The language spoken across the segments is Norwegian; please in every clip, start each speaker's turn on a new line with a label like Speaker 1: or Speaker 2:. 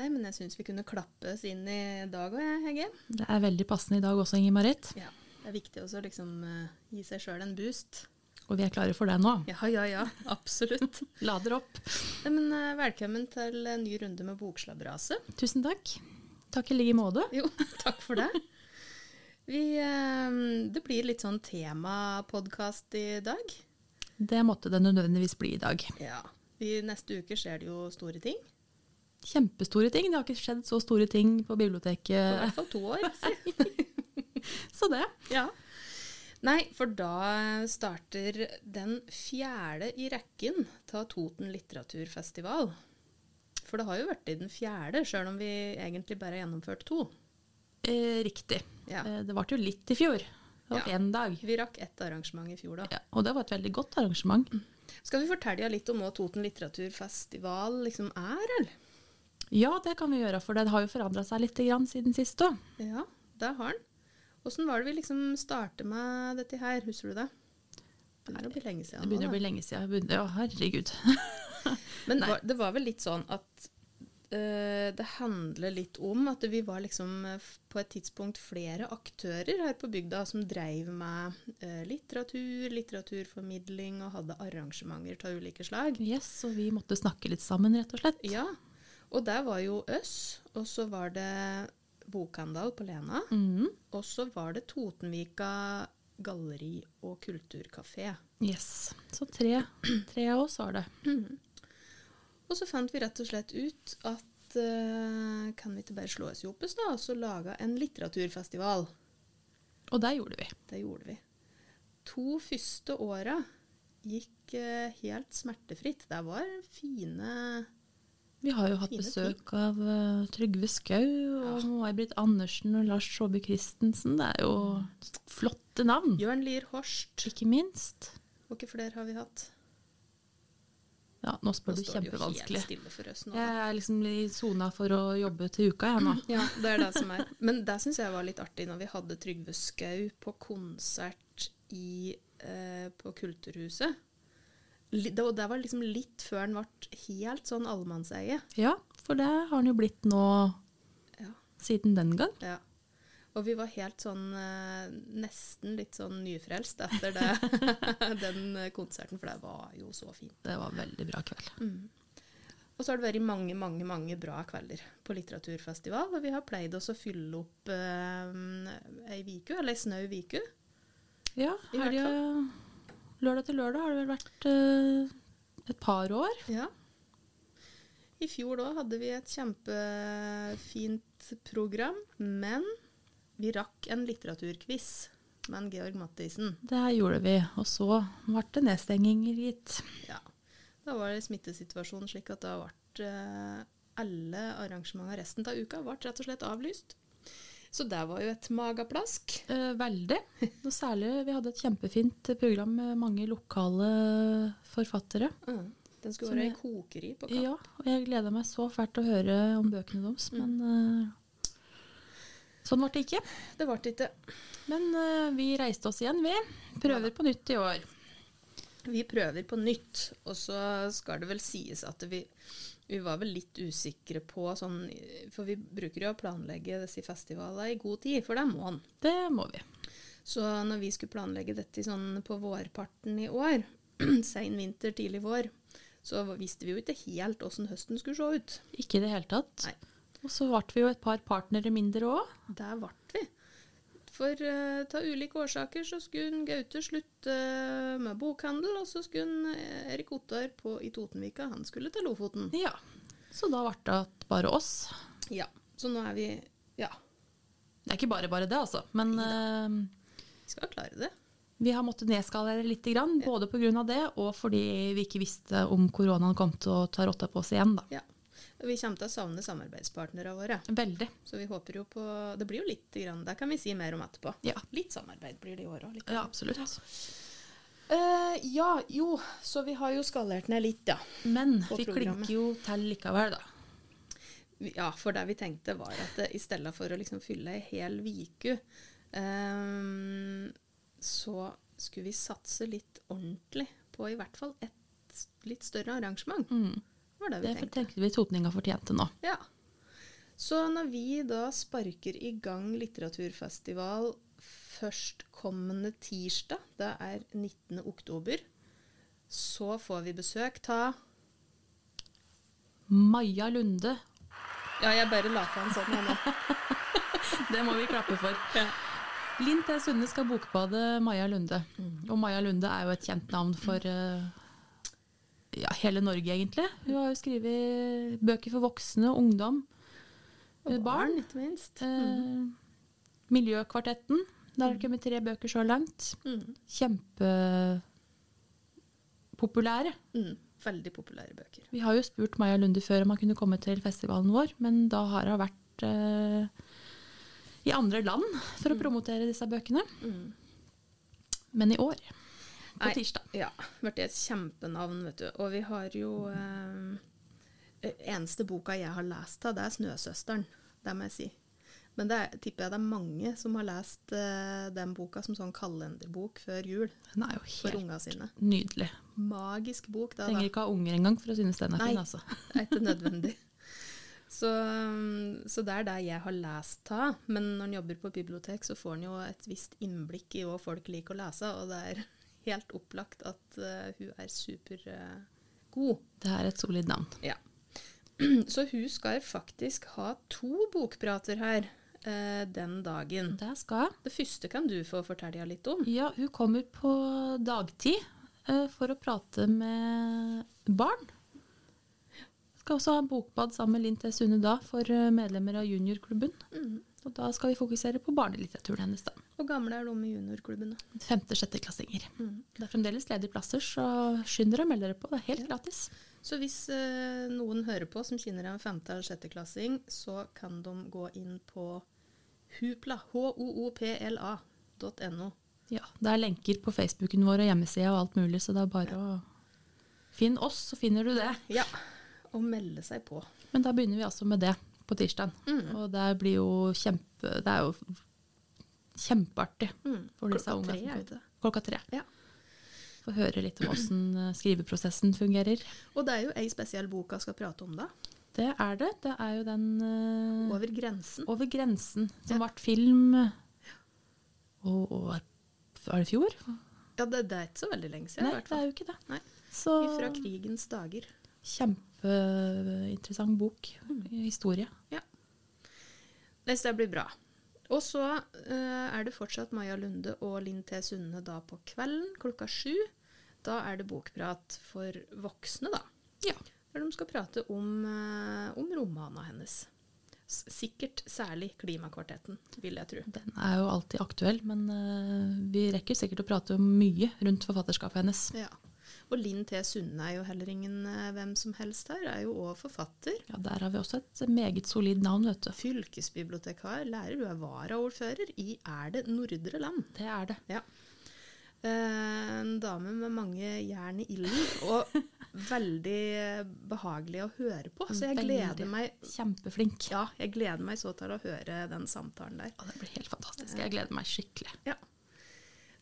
Speaker 1: Nei, men jeg syns vi kunne klappes inn i dag òg, Hege.
Speaker 2: Det er veldig passende i dag også, Inger Marit.
Speaker 1: Ja, det er viktig også å liksom, eh, gi seg sjøl en boost.
Speaker 2: Og vi er klare for det nå.
Speaker 1: Ja, ja, ja. Absolutt.
Speaker 2: Lader opp.
Speaker 1: Nei, men eh, Velkommen til en ny runde med Bokslabberaset.
Speaker 2: Tusen takk. Takk i like måte.
Speaker 1: Jo, takk for det. Vi, eh, det blir litt sånn temapodkast i dag.
Speaker 2: Det måtte det nødvendigvis bli i dag.
Speaker 1: Ja. I neste uke skjer det jo store ting.
Speaker 2: Kjempestore ting. Det har ikke skjedd så store ting på
Speaker 1: I hvert
Speaker 2: biblioteket.
Speaker 1: fall to år. Si.
Speaker 2: Så det.
Speaker 1: Ja. Nei, for da starter den fjerde i rekken av Toten litteraturfestival. For det har jo vært i den fjerde, sjøl om vi egentlig bare har gjennomført to.
Speaker 2: Eh, riktig.
Speaker 1: Ja.
Speaker 2: Eh, det varte jo litt i fjor. Det var
Speaker 1: Ja.
Speaker 2: én dag.
Speaker 1: Vi rakk ett arrangement i fjor, da.
Speaker 2: Ja, og det var et veldig godt arrangement.
Speaker 1: Skal vi fortelle deg litt om hva Toten litteraturfestival liksom er, eller?
Speaker 2: Ja, det kan vi gjøre, for det har jo forandra seg litt grann siden sist òg.
Speaker 1: Ja, det har den. Åssen var det vi liksom startet med dette her, husker du det? Det er å bli lenge
Speaker 2: Det
Speaker 1: siden.
Speaker 2: begynner å
Speaker 1: nå, da.
Speaker 2: bli lenge siden. jeg begynte- Ja, herregud.
Speaker 1: Men var, det var vel litt sånn at eh, det handler litt om at vi var liksom eh, f- på et tidspunkt flere aktører her på bygda som dreiv med eh, litteratur, litteraturformidling og hadde arrangementer av ulike slag.
Speaker 2: Yes, så vi måtte snakke litt sammen, rett og slett.
Speaker 1: Ja, og der var jo oss, og så var det Bokhandal på Lena,
Speaker 2: Mhm.
Speaker 1: og så var det Totenvika galleri og kulturkafé.
Speaker 2: Yes. Så tre, tre av oss var det.
Speaker 1: Og så fant vi rett og slett ut at eh, kan vi ikke bare slå oss ihop da, og så lage en litteraturfestival?
Speaker 2: Og det gjorde vi.
Speaker 1: Det gjorde vi. To første åra gikk eh, helt smertefritt. Det var fine
Speaker 2: Vi har jo hatt
Speaker 1: Fine
Speaker 2: besøk av eh, Trygve Skau og May-Britt Andersen og Lars Saabye Christensen. Det er jo
Speaker 1: Mm.
Speaker 2: flotte navn,
Speaker 1: Jørn Lier Horst.
Speaker 2: ikke minst.
Speaker 1: Og hva flere har vi hatt?
Speaker 2: Ja, nå
Speaker 1: Nå
Speaker 2: spør du
Speaker 1: står det jo helt
Speaker 2: kjempevanskelig.
Speaker 1: stille for oss nå. da.
Speaker 2: Jeg er liksom i sona for å jobbe til uka, jeg nå.
Speaker 1: Ja, det er det som er. Men det syns jeg var litt artig når vi hadde Trygve Skau på konsert i, eh, på Kulturhuset. Li- Det, og det var liksom litt før han ble helt sånn allemannseie.
Speaker 2: Ja, for det har han jo blitt nå
Speaker 1: Ja.
Speaker 2: siden den gang.
Speaker 1: ja. Og vi var helt sånn eh, nesten litt sånn nyfrelst etter det, den eh, konserten, for det var jo så fint.
Speaker 2: Det var veldig bra kveld.
Speaker 1: Mm. Og så har det vært mange, mange mange bra kvelder på litteraturfestival, og vi har pleid oss å fylle opp eh, ei uke, eller ei snau uke.
Speaker 2: Ja,
Speaker 1: I hvert
Speaker 2: helga eh, Lørdag til lørdag har det vel vært eh, et par år.
Speaker 1: Ja. I fjor da hadde vi et kjempefint program, men vi rakk en litteraturquiz med en Georg Mathisen.
Speaker 2: Det gjorde vi, og så ble det nedstenginger, gitt.
Speaker 1: Ja. Da var det smittesituasjonen slik at da ble eh, alle arrangementer resten av uka ble rett og slett avlyst. Så det var jo et mageplask.
Speaker 2: Eh, veldig. Noe særlig, vi hadde et kjempefint program med mange lokale forfattere.
Speaker 1: Den skulle
Speaker 2: Mm. Som
Speaker 1: være
Speaker 2: jeg-
Speaker 1: i kokeri på Kapp.
Speaker 2: Ja, og jeg gleda meg så fælt til å høre om bøkene deres, men eh, sånn ble det ikke.
Speaker 1: Det ble ikke
Speaker 2: Men eh, vi reiste oss igjen, vi. Prøver på nytt i år.
Speaker 1: Vi prøver på nytt, og så skal det vel sies at vi, vi var vel litt usikre på sånn For vi bruker jo å planlegge disse festivalene i god tid, for det må en.
Speaker 2: Det må vi.
Speaker 1: Så når vi skulle planlegge dette sånn på vårparten i år, sein vinter, tidlig vår, så visste vi jo ikke helt åssen høsten skulle se ut.
Speaker 2: Ikke i det hele tatt.
Speaker 1: Nei.
Speaker 2: Og så ble vi jo et par partnere mindre òg.
Speaker 1: Der ble vi. For eh, av ulike årsaker så skulle hun Gaute slutte eh, med bokhandel, og så skulle hun, eh, Erik Ottar på, i Totenvika, han skulle til Lofoten.
Speaker 2: Ja. Så da ble det at bare oss.
Speaker 1: Ja, så nå er vi Ja,
Speaker 2: Det er ikke bare bare det, altså. Men eh,
Speaker 1: vi skal klare det.
Speaker 2: Vi har måttet nedskalere litt, grann, både pga. det og fordi vi ikke visste om koronaen kom til å ta rotta på oss igjen. Da.
Speaker 1: Ja. Vi kommer til å savne samarbeidspartnerne våre.
Speaker 2: Veldig.
Speaker 1: Så vi håper jo på Det blir jo litt grann, Det kan vi si mer om etterpå.
Speaker 2: Ja.
Speaker 1: Litt samarbeid blir det i år òg.
Speaker 2: Ja, absolutt.
Speaker 1: Eh, ja, jo. Så vi har jo skalert ned litt, ja.
Speaker 2: Men
Speaker 1: På
Speaker 2: vi
Speaker 1: programmet.
Speaker 2: klinker jo til likevel, da.
Speaker 1: Vi- Ja, For det vi tenkte, var at eh, i stedet for å liksom fylle ei hel uke, ehm, så skulle vi satse litt ordentlig på i hvert fall et litt større arrangement.
Speaker 2: Mm.
Speaker 1: var det vi
Speaker 2: Det
Speaker 1: tenkte.
Speaker 2: tenkte vi totninga fortjente nå.
Speaker 1: Ja. Så når vi da sparker i gang litteraturfestival førstkommende tirsdag, det er 19. oktober, så får vi besøk ta
Speaker 2: Maja Lunde.
Speaker 1: Ja, jeg bare la fra en sånn nå.
Speaker 2: Det må vi klappe for.
Speaker 1: Ja.
Speaker 2: Linn T. Sunde skal bokbade Maja Lunde. Og Maja Lunde er jo et kjent navn for eh, ja, hele Norge, egentlig. Hun har jo skrevet bøker for voksne, ungdom, eh, barn.
Speaker 1: ikke minst.
Speaker 2: Eh, Miljøkvartetten. Der har det kommet tre bøker så langt.
Speaker 1: Mm.
Speaker 2: Kjempepopulære.
Speaker 1: Mm. Veldig populære bøker.
Speaker 2: Vi har jo spurt Maja Lunde før om hun kunne komme til festivalen vår, men da har hun vært eh, i andre land for å promotere disse bøkene.
Speaker 1: Mm.
Speaker 2: Men i år, på
Speaker 1: Nei.
Speaker 2: tirsdag.
Speaker 1: Ja. Vært et kjempenavn, vet du. Og vi har jo eh, Eneste boka jeg har lest av, det er 'Snøsøsteren'. Det må jeg si. Men det er, tipper jeg det er mange som har lest eh, den boka som sånn kalenderbok før jul
Speaker 2: Den er jo
Speaker 1: for
Speaker 2: helt
Speaker 1: unga sine.
Speaker 2: nydelig.
Speaker 1: Magisk bok, da. da.
Speaker 2: Trenger ikke ha unger engang for å synes den er
Speaker 1: Nei.
Speaker 2: fin, altså.
Speaker 1: Det er ikke nødvendig. Så, um, så det er det jeg har lest av. Men når en jobber på bibliotek, så får en jo et visst innblikk i hva folk liker å lese, og det er helt opplagt at eh, hun er eh, supergod.
Speaker 2: Det er et solid navn.
Speaker 1: ja. Så hun skal faktisk ha to bokprater her eh, den dagen.
Speaker 2: Der skal hun.
Speaker 1: Det første kan du få fortelle litt om.
Speaker 2: Ja, hun kommer på dagtid eh, for å prate med barn. Skal også ha en bokbad sammen med Linn T. Sunde da, for eh, medlemmer av juniorklubben. Og da skal vi fokusere på barnelitteraturen hennes, da.
Speaker 1: Hvor gamle er de i juniorklubben? da?
Speaker 2: Femte-sjetteklassinger. Det er fremdeles ledige plasser, så skynd dere å melde dere på. Det er helt gratis.
Speaker 1: Så hvis eh, noen hører på som kjenner en femte- eller sjetteklassing, så kan de gå inn på hupla, hoopla.no.
Speaker 2: Ja, Det er lenker på Facebooken vår og hjemmesida og alt mulig, så det er bare å Finn oss, så finner du det.
Speaker 1: Ja, og melde seg på.
Speaker 2: Men da begynner vi altså med det på tirsdag. Mm.
Speaker 1: Mm.
Speaker 2: Og det blir jo kjempe Det er jo kjempeartig
Speaker 1: Mm.
Speaker 2: for disse
Speaker 1: Klokka
Speaker 2: ungene.
Speaker 1: tre,
Speaker 2: som
Speaker 1: er
Speaker 2: kommer.
Speaker 1: det det?
Speaker 2: Klokka tre.
Speaker 1: Ja.
Speaker 2: Få høre litt om åssen eh, skriveprosessen fungerer.
Speaker 1: Og det er jo ei spesiell boka skal prate om, da.
Speaker 2: Det er det. Det er jo den eh,
Speaker 1: Over grensen.
Speaker 2: Over grensen, som ble film eh, og, og Er det i fjor?
Speaker 1: Ja, det, det er ikke så veldig lenge siden.
Speaker 2: Nei,
Speaker 1: i hvert
Speaker 2: det er
Speaker 1: fall.
Speaker 2: jo ikke det.
Speaker 1: Nei.
Speaker 2: Så
Speaker 1: Fra krigens dager.
Speaker 2: kjempeinteressant bok. Historie.
Speaker 1: Nei, så det blir bra. Og så eh, er det fortsatt Maja Lunde og Linn T. Sunde da på kvelden klokka sju. Da er det bokprat for voksne, da.
Speaker 2: Ja.
Speaker 1: Der de skal prate om, eh, om romanen hennes. S sikkert særlig Klimakvartetten, vil jeg tro.
Speaker 2: Den er jo alltid aktuell, men eh, vi rekker sikkert å prate om mye rundt forfatterskapet hennes.
Speaker 1: Ja. Og Linn T. Sunde er jo heller ingen eh, hvem som helst her, er jo òg forfatter.
Speaker 2: Ja, Der har vi også et meget solid navn, vet du.
Speaker 1: Fylkesbibliotekar, lærer, hun er varaordfører i Er det Nordre Land.
Speaker 2: Det er det.
Speaker 1: Ja. Eh, En dame med mange jern i ilden, og veldig eh, behagelig å høre på. Så jeg gleder
Speaker 2: Veldig.
Speaker 1: meg,
Speaker 2: Kjempeflink.
Speaker 1: ja, jeg gleder meg så til å høre den samtalen der.
Speaker 2: Ja, det blir helt fantastisk. Jeg gleder meg skikkelig.
Speaker 1: Ja.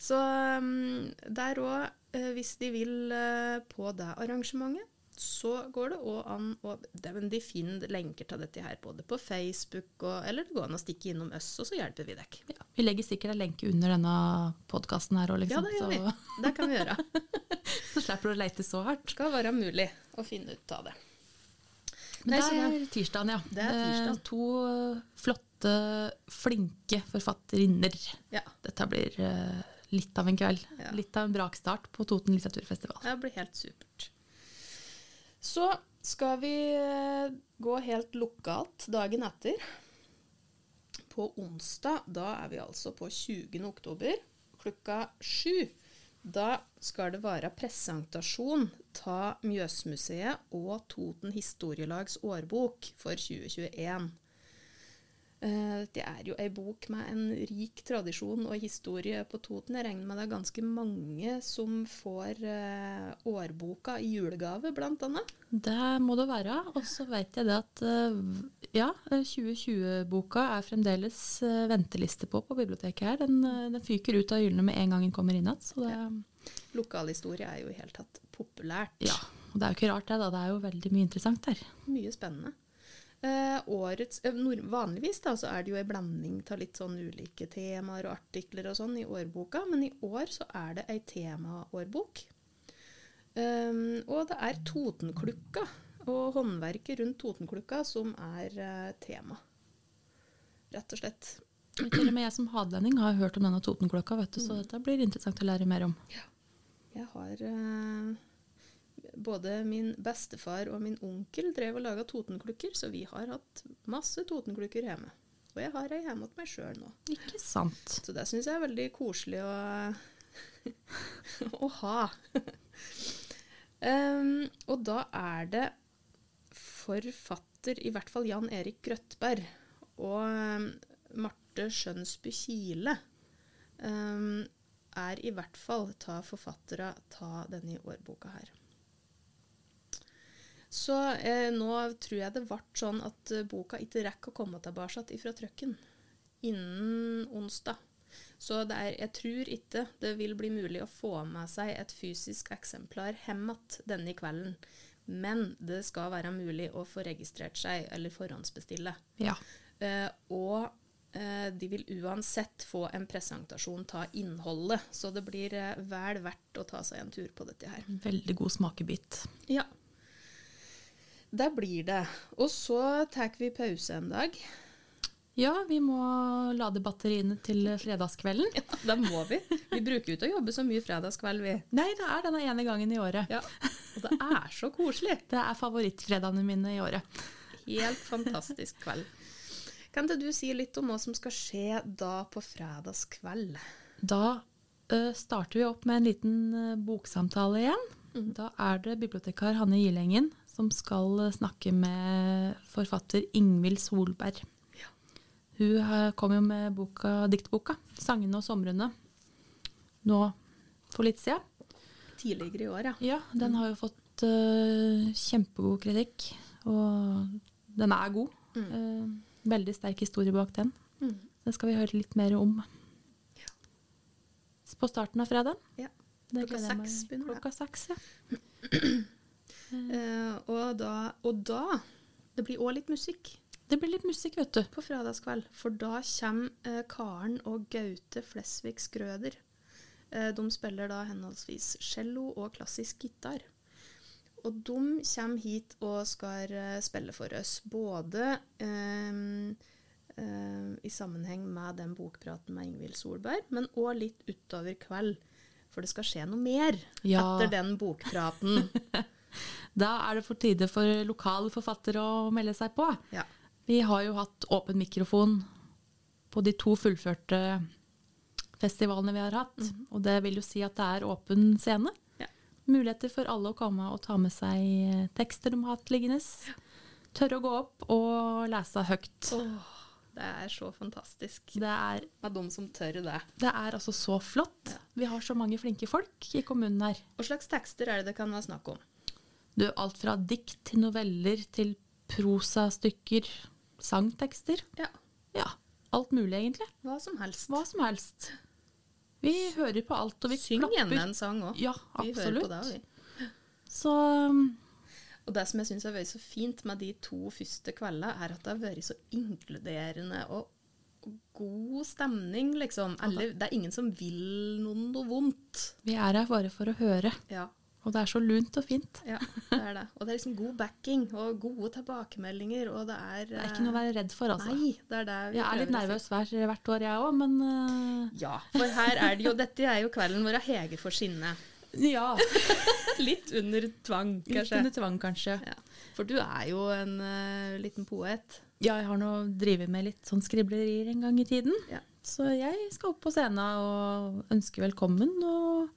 Speaker 1: Så um, der òg, hvis de vil eh, på det arrangementet, så går det òg an å det, men De finner lenker til dette her både på Facebook og Eller det går an å stikke innom oss, og så hjelper vi dere.
Speaker 2: Ja, vi legger sikkert en lenke under denne podkasten her òg,
Speaker 1: Ja,
Speaker 2: liksom.
Speaker 1: det gjør vi. Det kan vi gjøre.
Speaker 2: så, så slipper du å leite så hardt.
Speaker 1: Det skal være mulig å finne ut av det. Nei,
Speaker 2: Men det
Speaker 1: så
Speaker 2: er
Speaker 1: det-
Speaker 2: tirsdagen, ja.
Speaker 1: Det er tirsdag.
Speaker 2: Eh, To eh, flotte, flinke forfatterinner.
Speaker 1: Ja.
Speaker 2: Dette blir eh, litt av en kveld.
Speaker 1: Ja.
Speaker 2: Litt av en brakstart på Toten litteraturfestival.
Speaker 1: Det blir helt supert. Så skal vi eh, gå helt lokalt dagen etter. På onsdag, da er vi altså på 20. oktober klokka sju. Da skal det være presentasjon ta Mjøsmuseet og Toten Historielags årbok for 2021. Eh, Det er jo ei bok med en rik tradisjon og historie på Toten. Jeg regner med det er ganske mange som får eh, årboka i julegave, blant annet.
Speaker 2: Det må det være. Og så vet jeg det at eh, ja, 2020-boka er fremdeles eh, venteliste på på biblioteket her. Den, eh, den fyker ut av hyllene med en gang den kommer inn igjen. Så det,
Speaker 1: Lokalhistorie er jo i hele tatt populært.
Speaker 2: ja. Og det er jo ikke rart det, da. Det er jo veldig mye interessant der.
Speaker 1: Mye spennende. Eh, årets, eh, nor- vanligvis da, så er det jo en blanding av litt sånn ulike temaer og artikler og sånn i årboka, men i år så er det ei temaårbok. Um, og det er Totenklukka og håndverket rundt Totenklukka som er eh, tema. Rett og slett.
Speaker 2: Til og med jeg som hadlending har hørt om denne Totenklokka, vet du, så dette blir interessant å lære mer om.
Speaker 1: Jeg har eh, Både min bestefar og min onkel drev og laga totenklukker, så vi har hatt masse totenklukker hjemme. Og jeg har ei hjemme hos meg sjøl nå.
Speaker 2: Ikke sant.
Speaker 1: Så det syns jeg er veldig koselig å, å ha. Em, og da er det forfatter, i hvert fall Jan Erik Grøtberg, og em, Marte Skjønsby Kile em, er i hvert fall ta forfattere ta denne årboka her. Så eh, nå tror jeg det ble sånn at eh, boka ikke rekker å komme tilbake ifra trøkken innen onsdag. Så det er, jeg tror ikke det vil bli mulig å få med seg et fysisk eksemplar hjem igjen denne kvelden. Men det skal være mulig å få registrert seg eller forhåndsbestille.
Speaker 2: Ja.
Speaker 1: Eh, og eh, de vil uansett få en presentasjon av innholdet, så det blir eh, vel verdt å ta seg en tur på dette her.
Speaker 2: Veldig god smakebit.
Speaker 1: Ja. Det blir det. Og så tar vi pause en dag.
Speaker 2: Ja, vi må lade batteriene til fredagskvelden.
Speaker 1: Ja, det må vi. Vi bruker jo ikke å jobbe så mye fredagskveld, vi.
Speaker 2: Nei, det er denne ene gangen i året.
Speaker 1: Ja, og det er så koselig.
Speaker 2: Det er favorittfredagene mine i året.
Speaker 1: Helt fantastisk kveld. Kan ikke du si litt om hva som skal skje da på fredagskveld?
Speaker 2: Da eh, starter vi opp med en liten eh, boksamtale igjen. Da er det bibliotekar Hanne Gilengen som skal eh, snakke med forfatter Ingvild Solberg. Hun har- kom jo med boka, diktboka 'Sangene og somrene' nå for litt siden.
Speaker 1: Tidligere i år, ja.
Speaker 2: Ja, den har jo fått eh, kjempegod kritikk, og den er god. Eh, veldig sterk historie bak den.
Speaker 1: Mm.
Speaker 2: Den skal vi høre litt mer om.
Speaker 1: Ja.
Speaker 2: På starten av fredagen.
Speaker 1: ja.
Speaker 2: Det
Speaker 1: Klokka
Speaker 2: gleder jeg meg-
Speaker 1: seks begynner det.
Speaker 2: Klokka seks, ja.
Speaker 1: Eh, og, da, og da Det blir òg litt musikk
Speaker 2: Det blir litt musikk, vet du.
Speaker 1: på fredagskveld, for da kommer eh, Karen og Gaute Flesvig Skrøder. Eh, de spiller da henholdsvis cello og klassisk gitar. Og de kommer hit og skal eh, spille for oss, både ehm, ehm, i sammenheng med den bokpraten med Ingvild Solberg, men òg litt utover kveld. For det skal skje noe mer
Speaker 2: Ja.
Speaker 1: etter den bokpraten.
Speaker 2: Da er det for tide for lokale forfattere å melde seg på.
Speaker 1: ja.
Speaker 2: Vi har jo hatt åpen mikrofon på de to fullførte festivalene vi har hatt. Og det vil jo si at det er åpen scene.
Speaker 1: Mhm. Ja.
Speaker 2: Muligheter for alle å komme og ta med seg eh, tekster de har hatt liggende. Tørre å gå opp og lese høyt.
Speaker 1: Åh, det er så fantastisk.
Speaker 2: Det er,
Speaker 1: Med de som tør det.
Speaker 2: det er altså så flott. Vi har så mange flinke folk i kommunen her.
Speaker 1: Hva slags tekster er det det kan være snakk om?
Speaker 2: Du, alt fra dikt til noveller til prosastykker, sangtekster.
Speaker 1: Ja,
Speaker 2: Ja, alt mulig egentlig.
Speaker 1: hva som helst.
Speaker 2: Hva som helst. Vi hører på alt, og vi
Speaker 1: Syng gjerne
Speaker 2: klapper.
Speaker 1: en sang òg.
Speaker 2: Ja,
Speaker 1: Vi hører på det
Speaker 2: absolutt.
Speaker 1: også, vi.
Speaker 2: Så um,
Speaker 1: Og det som jeg syns har vært så fint med de to første kveldene, er at det har vært så inkluderende og og god stemning, liksom. Alle, det er ingen som vil noen noe vondt.
Speaker 2: vi er her bare for å høre.
Speaker 1: Ja,
Speaker 2: Og det er så lunt og fint.
Speaker 1: ja, det er det. Og det er liksom god backing og gode tilbakemeldinger, og det er eh,
Speaker 2: Det er ikke noe å være redd for, altså.
Speaker 1: Nei, det er det vi
Speaker 2: Jeg er litt
Speaker 1: prøver å si.
Speaker 2: nervøs hver, hvert år, jeg òg, men uh,
Speaker 1: Ja, for her er det jo Dette er jo kvelden hvor Hege får skinne.
Speaker 2: Ja.
Speaker 1: Litt under tvang,
Speaker 2: Litt
Speaker 1: kanskje.
Speaker 2: under tvang, kanskje.
Speaker 1: Ja. For du er jo en eh, liten poet.
Speaker 2: Ja, jeg har nå drevet med litt sånn skriblerier en gang i tiden.
Speaker 1: Ja.
Speaker 2: Så jeg skal opp på scenen og ønske velkommen og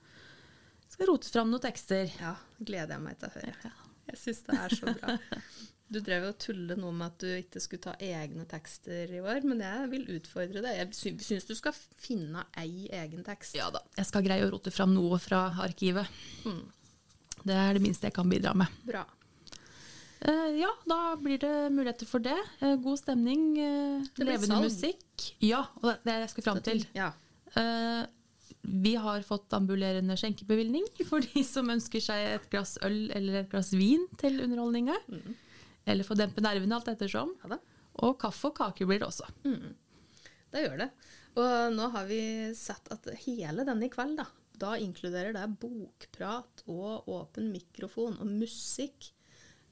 Speaker 2: skal rote fram noen tekster.
Speaker 1: Ja, gleder jeg meg til å høre.
Speaker 2: Ja.
Speaker 1: Jeg syns det er så bra. Du drev jo og tulle noe med at du ikke skulle ta egne tekster i år, men jeg vil utfordre deg. Jeg sy- syns du skal finne ei egen tekst.
Speaker 2: Ja da. Jeg skal greie å rote fram noe fra arkivet.
Speaker 1: Mm.
Speaker 2: Det er det minste jeg kan bidra med.
Speaker 1: Bra.
Speaker 2: Eh, ja, da blir det muligheter for det. Eh, god stemning, eh,
Speaker 1: Det blir
Speaker 2: levende
Speaker 1: salg.
Speaker 2: musikk. Ja, og det, det jeg skulle fram til.
Speaker 1: Ja.
Speaker 2: Eh, vi har fått ambulerende
Speaker 1: Mm.
Speaker 2: skjenkebevilgning for de som ønsker seg et glass øl eller et glass vin til underholdninga. Eller få dempe nervene, alt ettersom.
Speaker 1: Ja da.
Speaker 2: Og kaffe og kake blir det også.
Speaker 1: Mm. Det gjør det. Og nå har vi sett at hele denne i kveld, da, da inkluderer det bokprat og åpen mikrofon og musikk.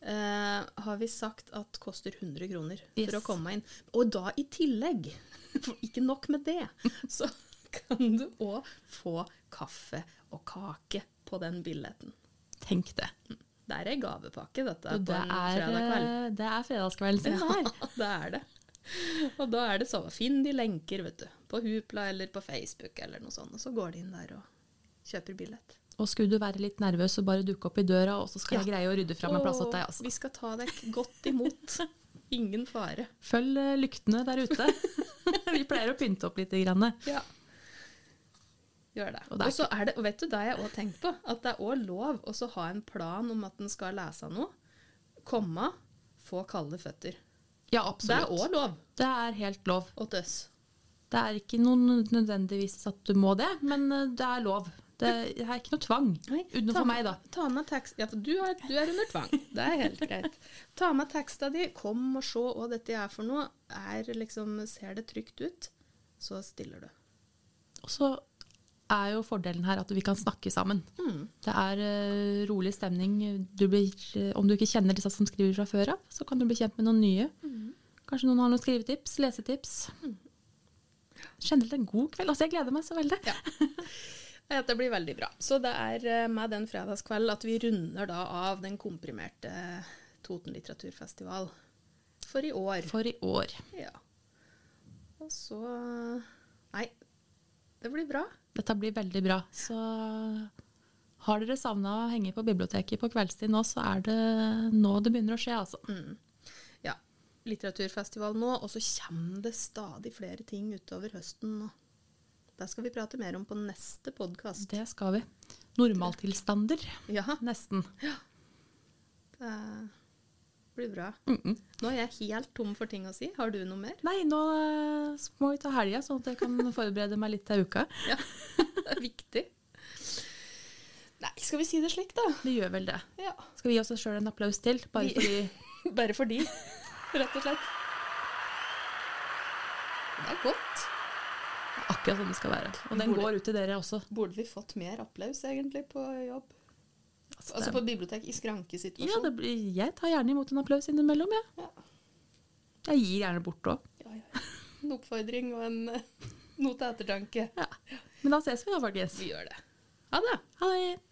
Speaker 1: Eh, har vi sagt at koster 100 kroner
Speaker 2: Yes.
Speaker 1: for å komme inn. Og da i tillegg, for ikke nok med det, så kan du òg få kaffe og kake på den billetten.
Speaker 2: Tenk det.
Speaker 1: Det er ei gavepakke, dette,
Speaker 2: Og
Speaker 1: på
Speaker 2: det
Speaker 1: en
Speaker 2: er,
Speaker 1: fredag kveld.
Speaker 2: eh, det er fredagskvelden sin, det her.
Speaker 1: Ja, det er det. Og da er det så Finn de lenker, vet du. På Hupla eller på Facebook eller noe sånt. Og så går de inn der og kjøper billett.
Speaker 2: Og skulle du være litt nervøs, så bare dukke opp i døra, og så skal jeg
Speaker 1: Ja.
Speaker 2: greie å rydde fram en plass til
Speaker 1: Og
Speaker 2: deg. Altså.
Speaker 1: Vi skal ta deg godt imot. Ingen fare.
Speaker 2: Følg eh, lyktene der ute. Vi pleier å pynte opp litt. Grann.
Speaker 1: Ja. Gjør det.
Speaker 2: Og
Speaker 1: Og,
Speaker 2: det er
Speaker 1: så er det, og vet du det jeg òg tenkte på? At det er òg lov å så ha en plan om at en skal lese noe. Komme, få kalde føtter.
Speaker 2: Ja,
Speaker 1: Det er
Speaker 2: absolutt.
Speaker 1: òg lov
Speaker 2: Det er helt lov.
Speaker 1: åt oss.
Speaker 2: Det er ikke noen nødvendigvis at du må det, men eh, det er lov. Det er ikke noe tvang.
Speaker 1: Nei,
Speaker 2: Utenfor
Speaker 1: ta-
Speaker 2: meg, da.
Speaker 1: Ta med tekst... Ja, for du er, du er under tvang. Det er helt greit. Ta med teksta di. Kom og se hva dette er for noe. Er liksom, ser det trygt ut, så stiller du.
Speaker 2: Og så er jo fordelen her at vi kan snakke sammen.
Speaker 1: Mm.
Speaker 2: Det er eh, rolig stemning. Du blir, eh, om du ikke kjenner disse som skriver fra før av, så kan du bli kjent med noen nye.
Speaker 1: Mm.
Speaker 2: Kanskje noen har noen skrivetips, lesetips. Generelt en god kveld. Altså, jeg gleder meg så veldig.
Speaker 1: Ja. Nei, Dette blir veldig bra. Så det er eh, med den fredagskvelden at vi runder da av den komprimerte Toten litteraturfestival for i år.
Speaker 2: For i år.
Speaker 1: Ja. Og så eh, Nei, det blir bra.
Speaker 2: Dette blir veldig bra. Så har dere savna å henge på biblioteket på kveldstid nå, så er det nå det begynner å skje, altså.
Speaker 1: Ja. Litteraturfestival nå, og så kommer det stadig flere ting utover høsten nå. Det skal vi prate mer om på neste podkast.
Speaker 2: Det skal vi. Normaltilstander,
Speaker 1: Ja,
Speaker 2: nesten.
Speaker 1: det blir bra.
Speaker 2: Mm -mm.
Speaker 1: Nå er jeg helt tom for ting å si. Har du noe mer?
Speaker 2: Nei, nå eh, må vi ta helga, sånn at jeg kan forberede meg litt til uka.
Speaker 1: Ja, det er viktig. Nei, skal vi si det slik, da?
Speaker 2: Vi gjør vel det.
Speaker 1: Ja.
Speaker 2: Skal vi gi oss sjøl en applaus til? Bare
Speaker 1: Vi-
Speaker 2: fordi
Speaker 1: Bare for de, rett og slett. Det er godt.
Speaker 2: akkurat sånn det skal være. Og den
Speaker 1: Borde-
Speaker 2: går ut til dere også.
Speaker 1: Burde vi fått mer applaus, egentlig, på jobb?
Speaker 2: Altså, sånn?
Speaker 1: Altså
Speaker 2: det,
Speaker 1: på bibliotek i
Speaker 2: ja,
Speaker 1: skrankesituasjon?
Speaker 2: det blir, jeg tar gjerne imot en applaus innimellom, jeg.
Speaker 1: Ja.
Speaker 2: Jeg gir gjerne bort òg.
Speaker 1: Ja, ja. En oppfordring og en eh, noe til ettertanke.
Speaker 2: Men da ses vi da, folkens.
Speaker 1: Vi gjør det. Ha det!
Speaker 2: Ha det.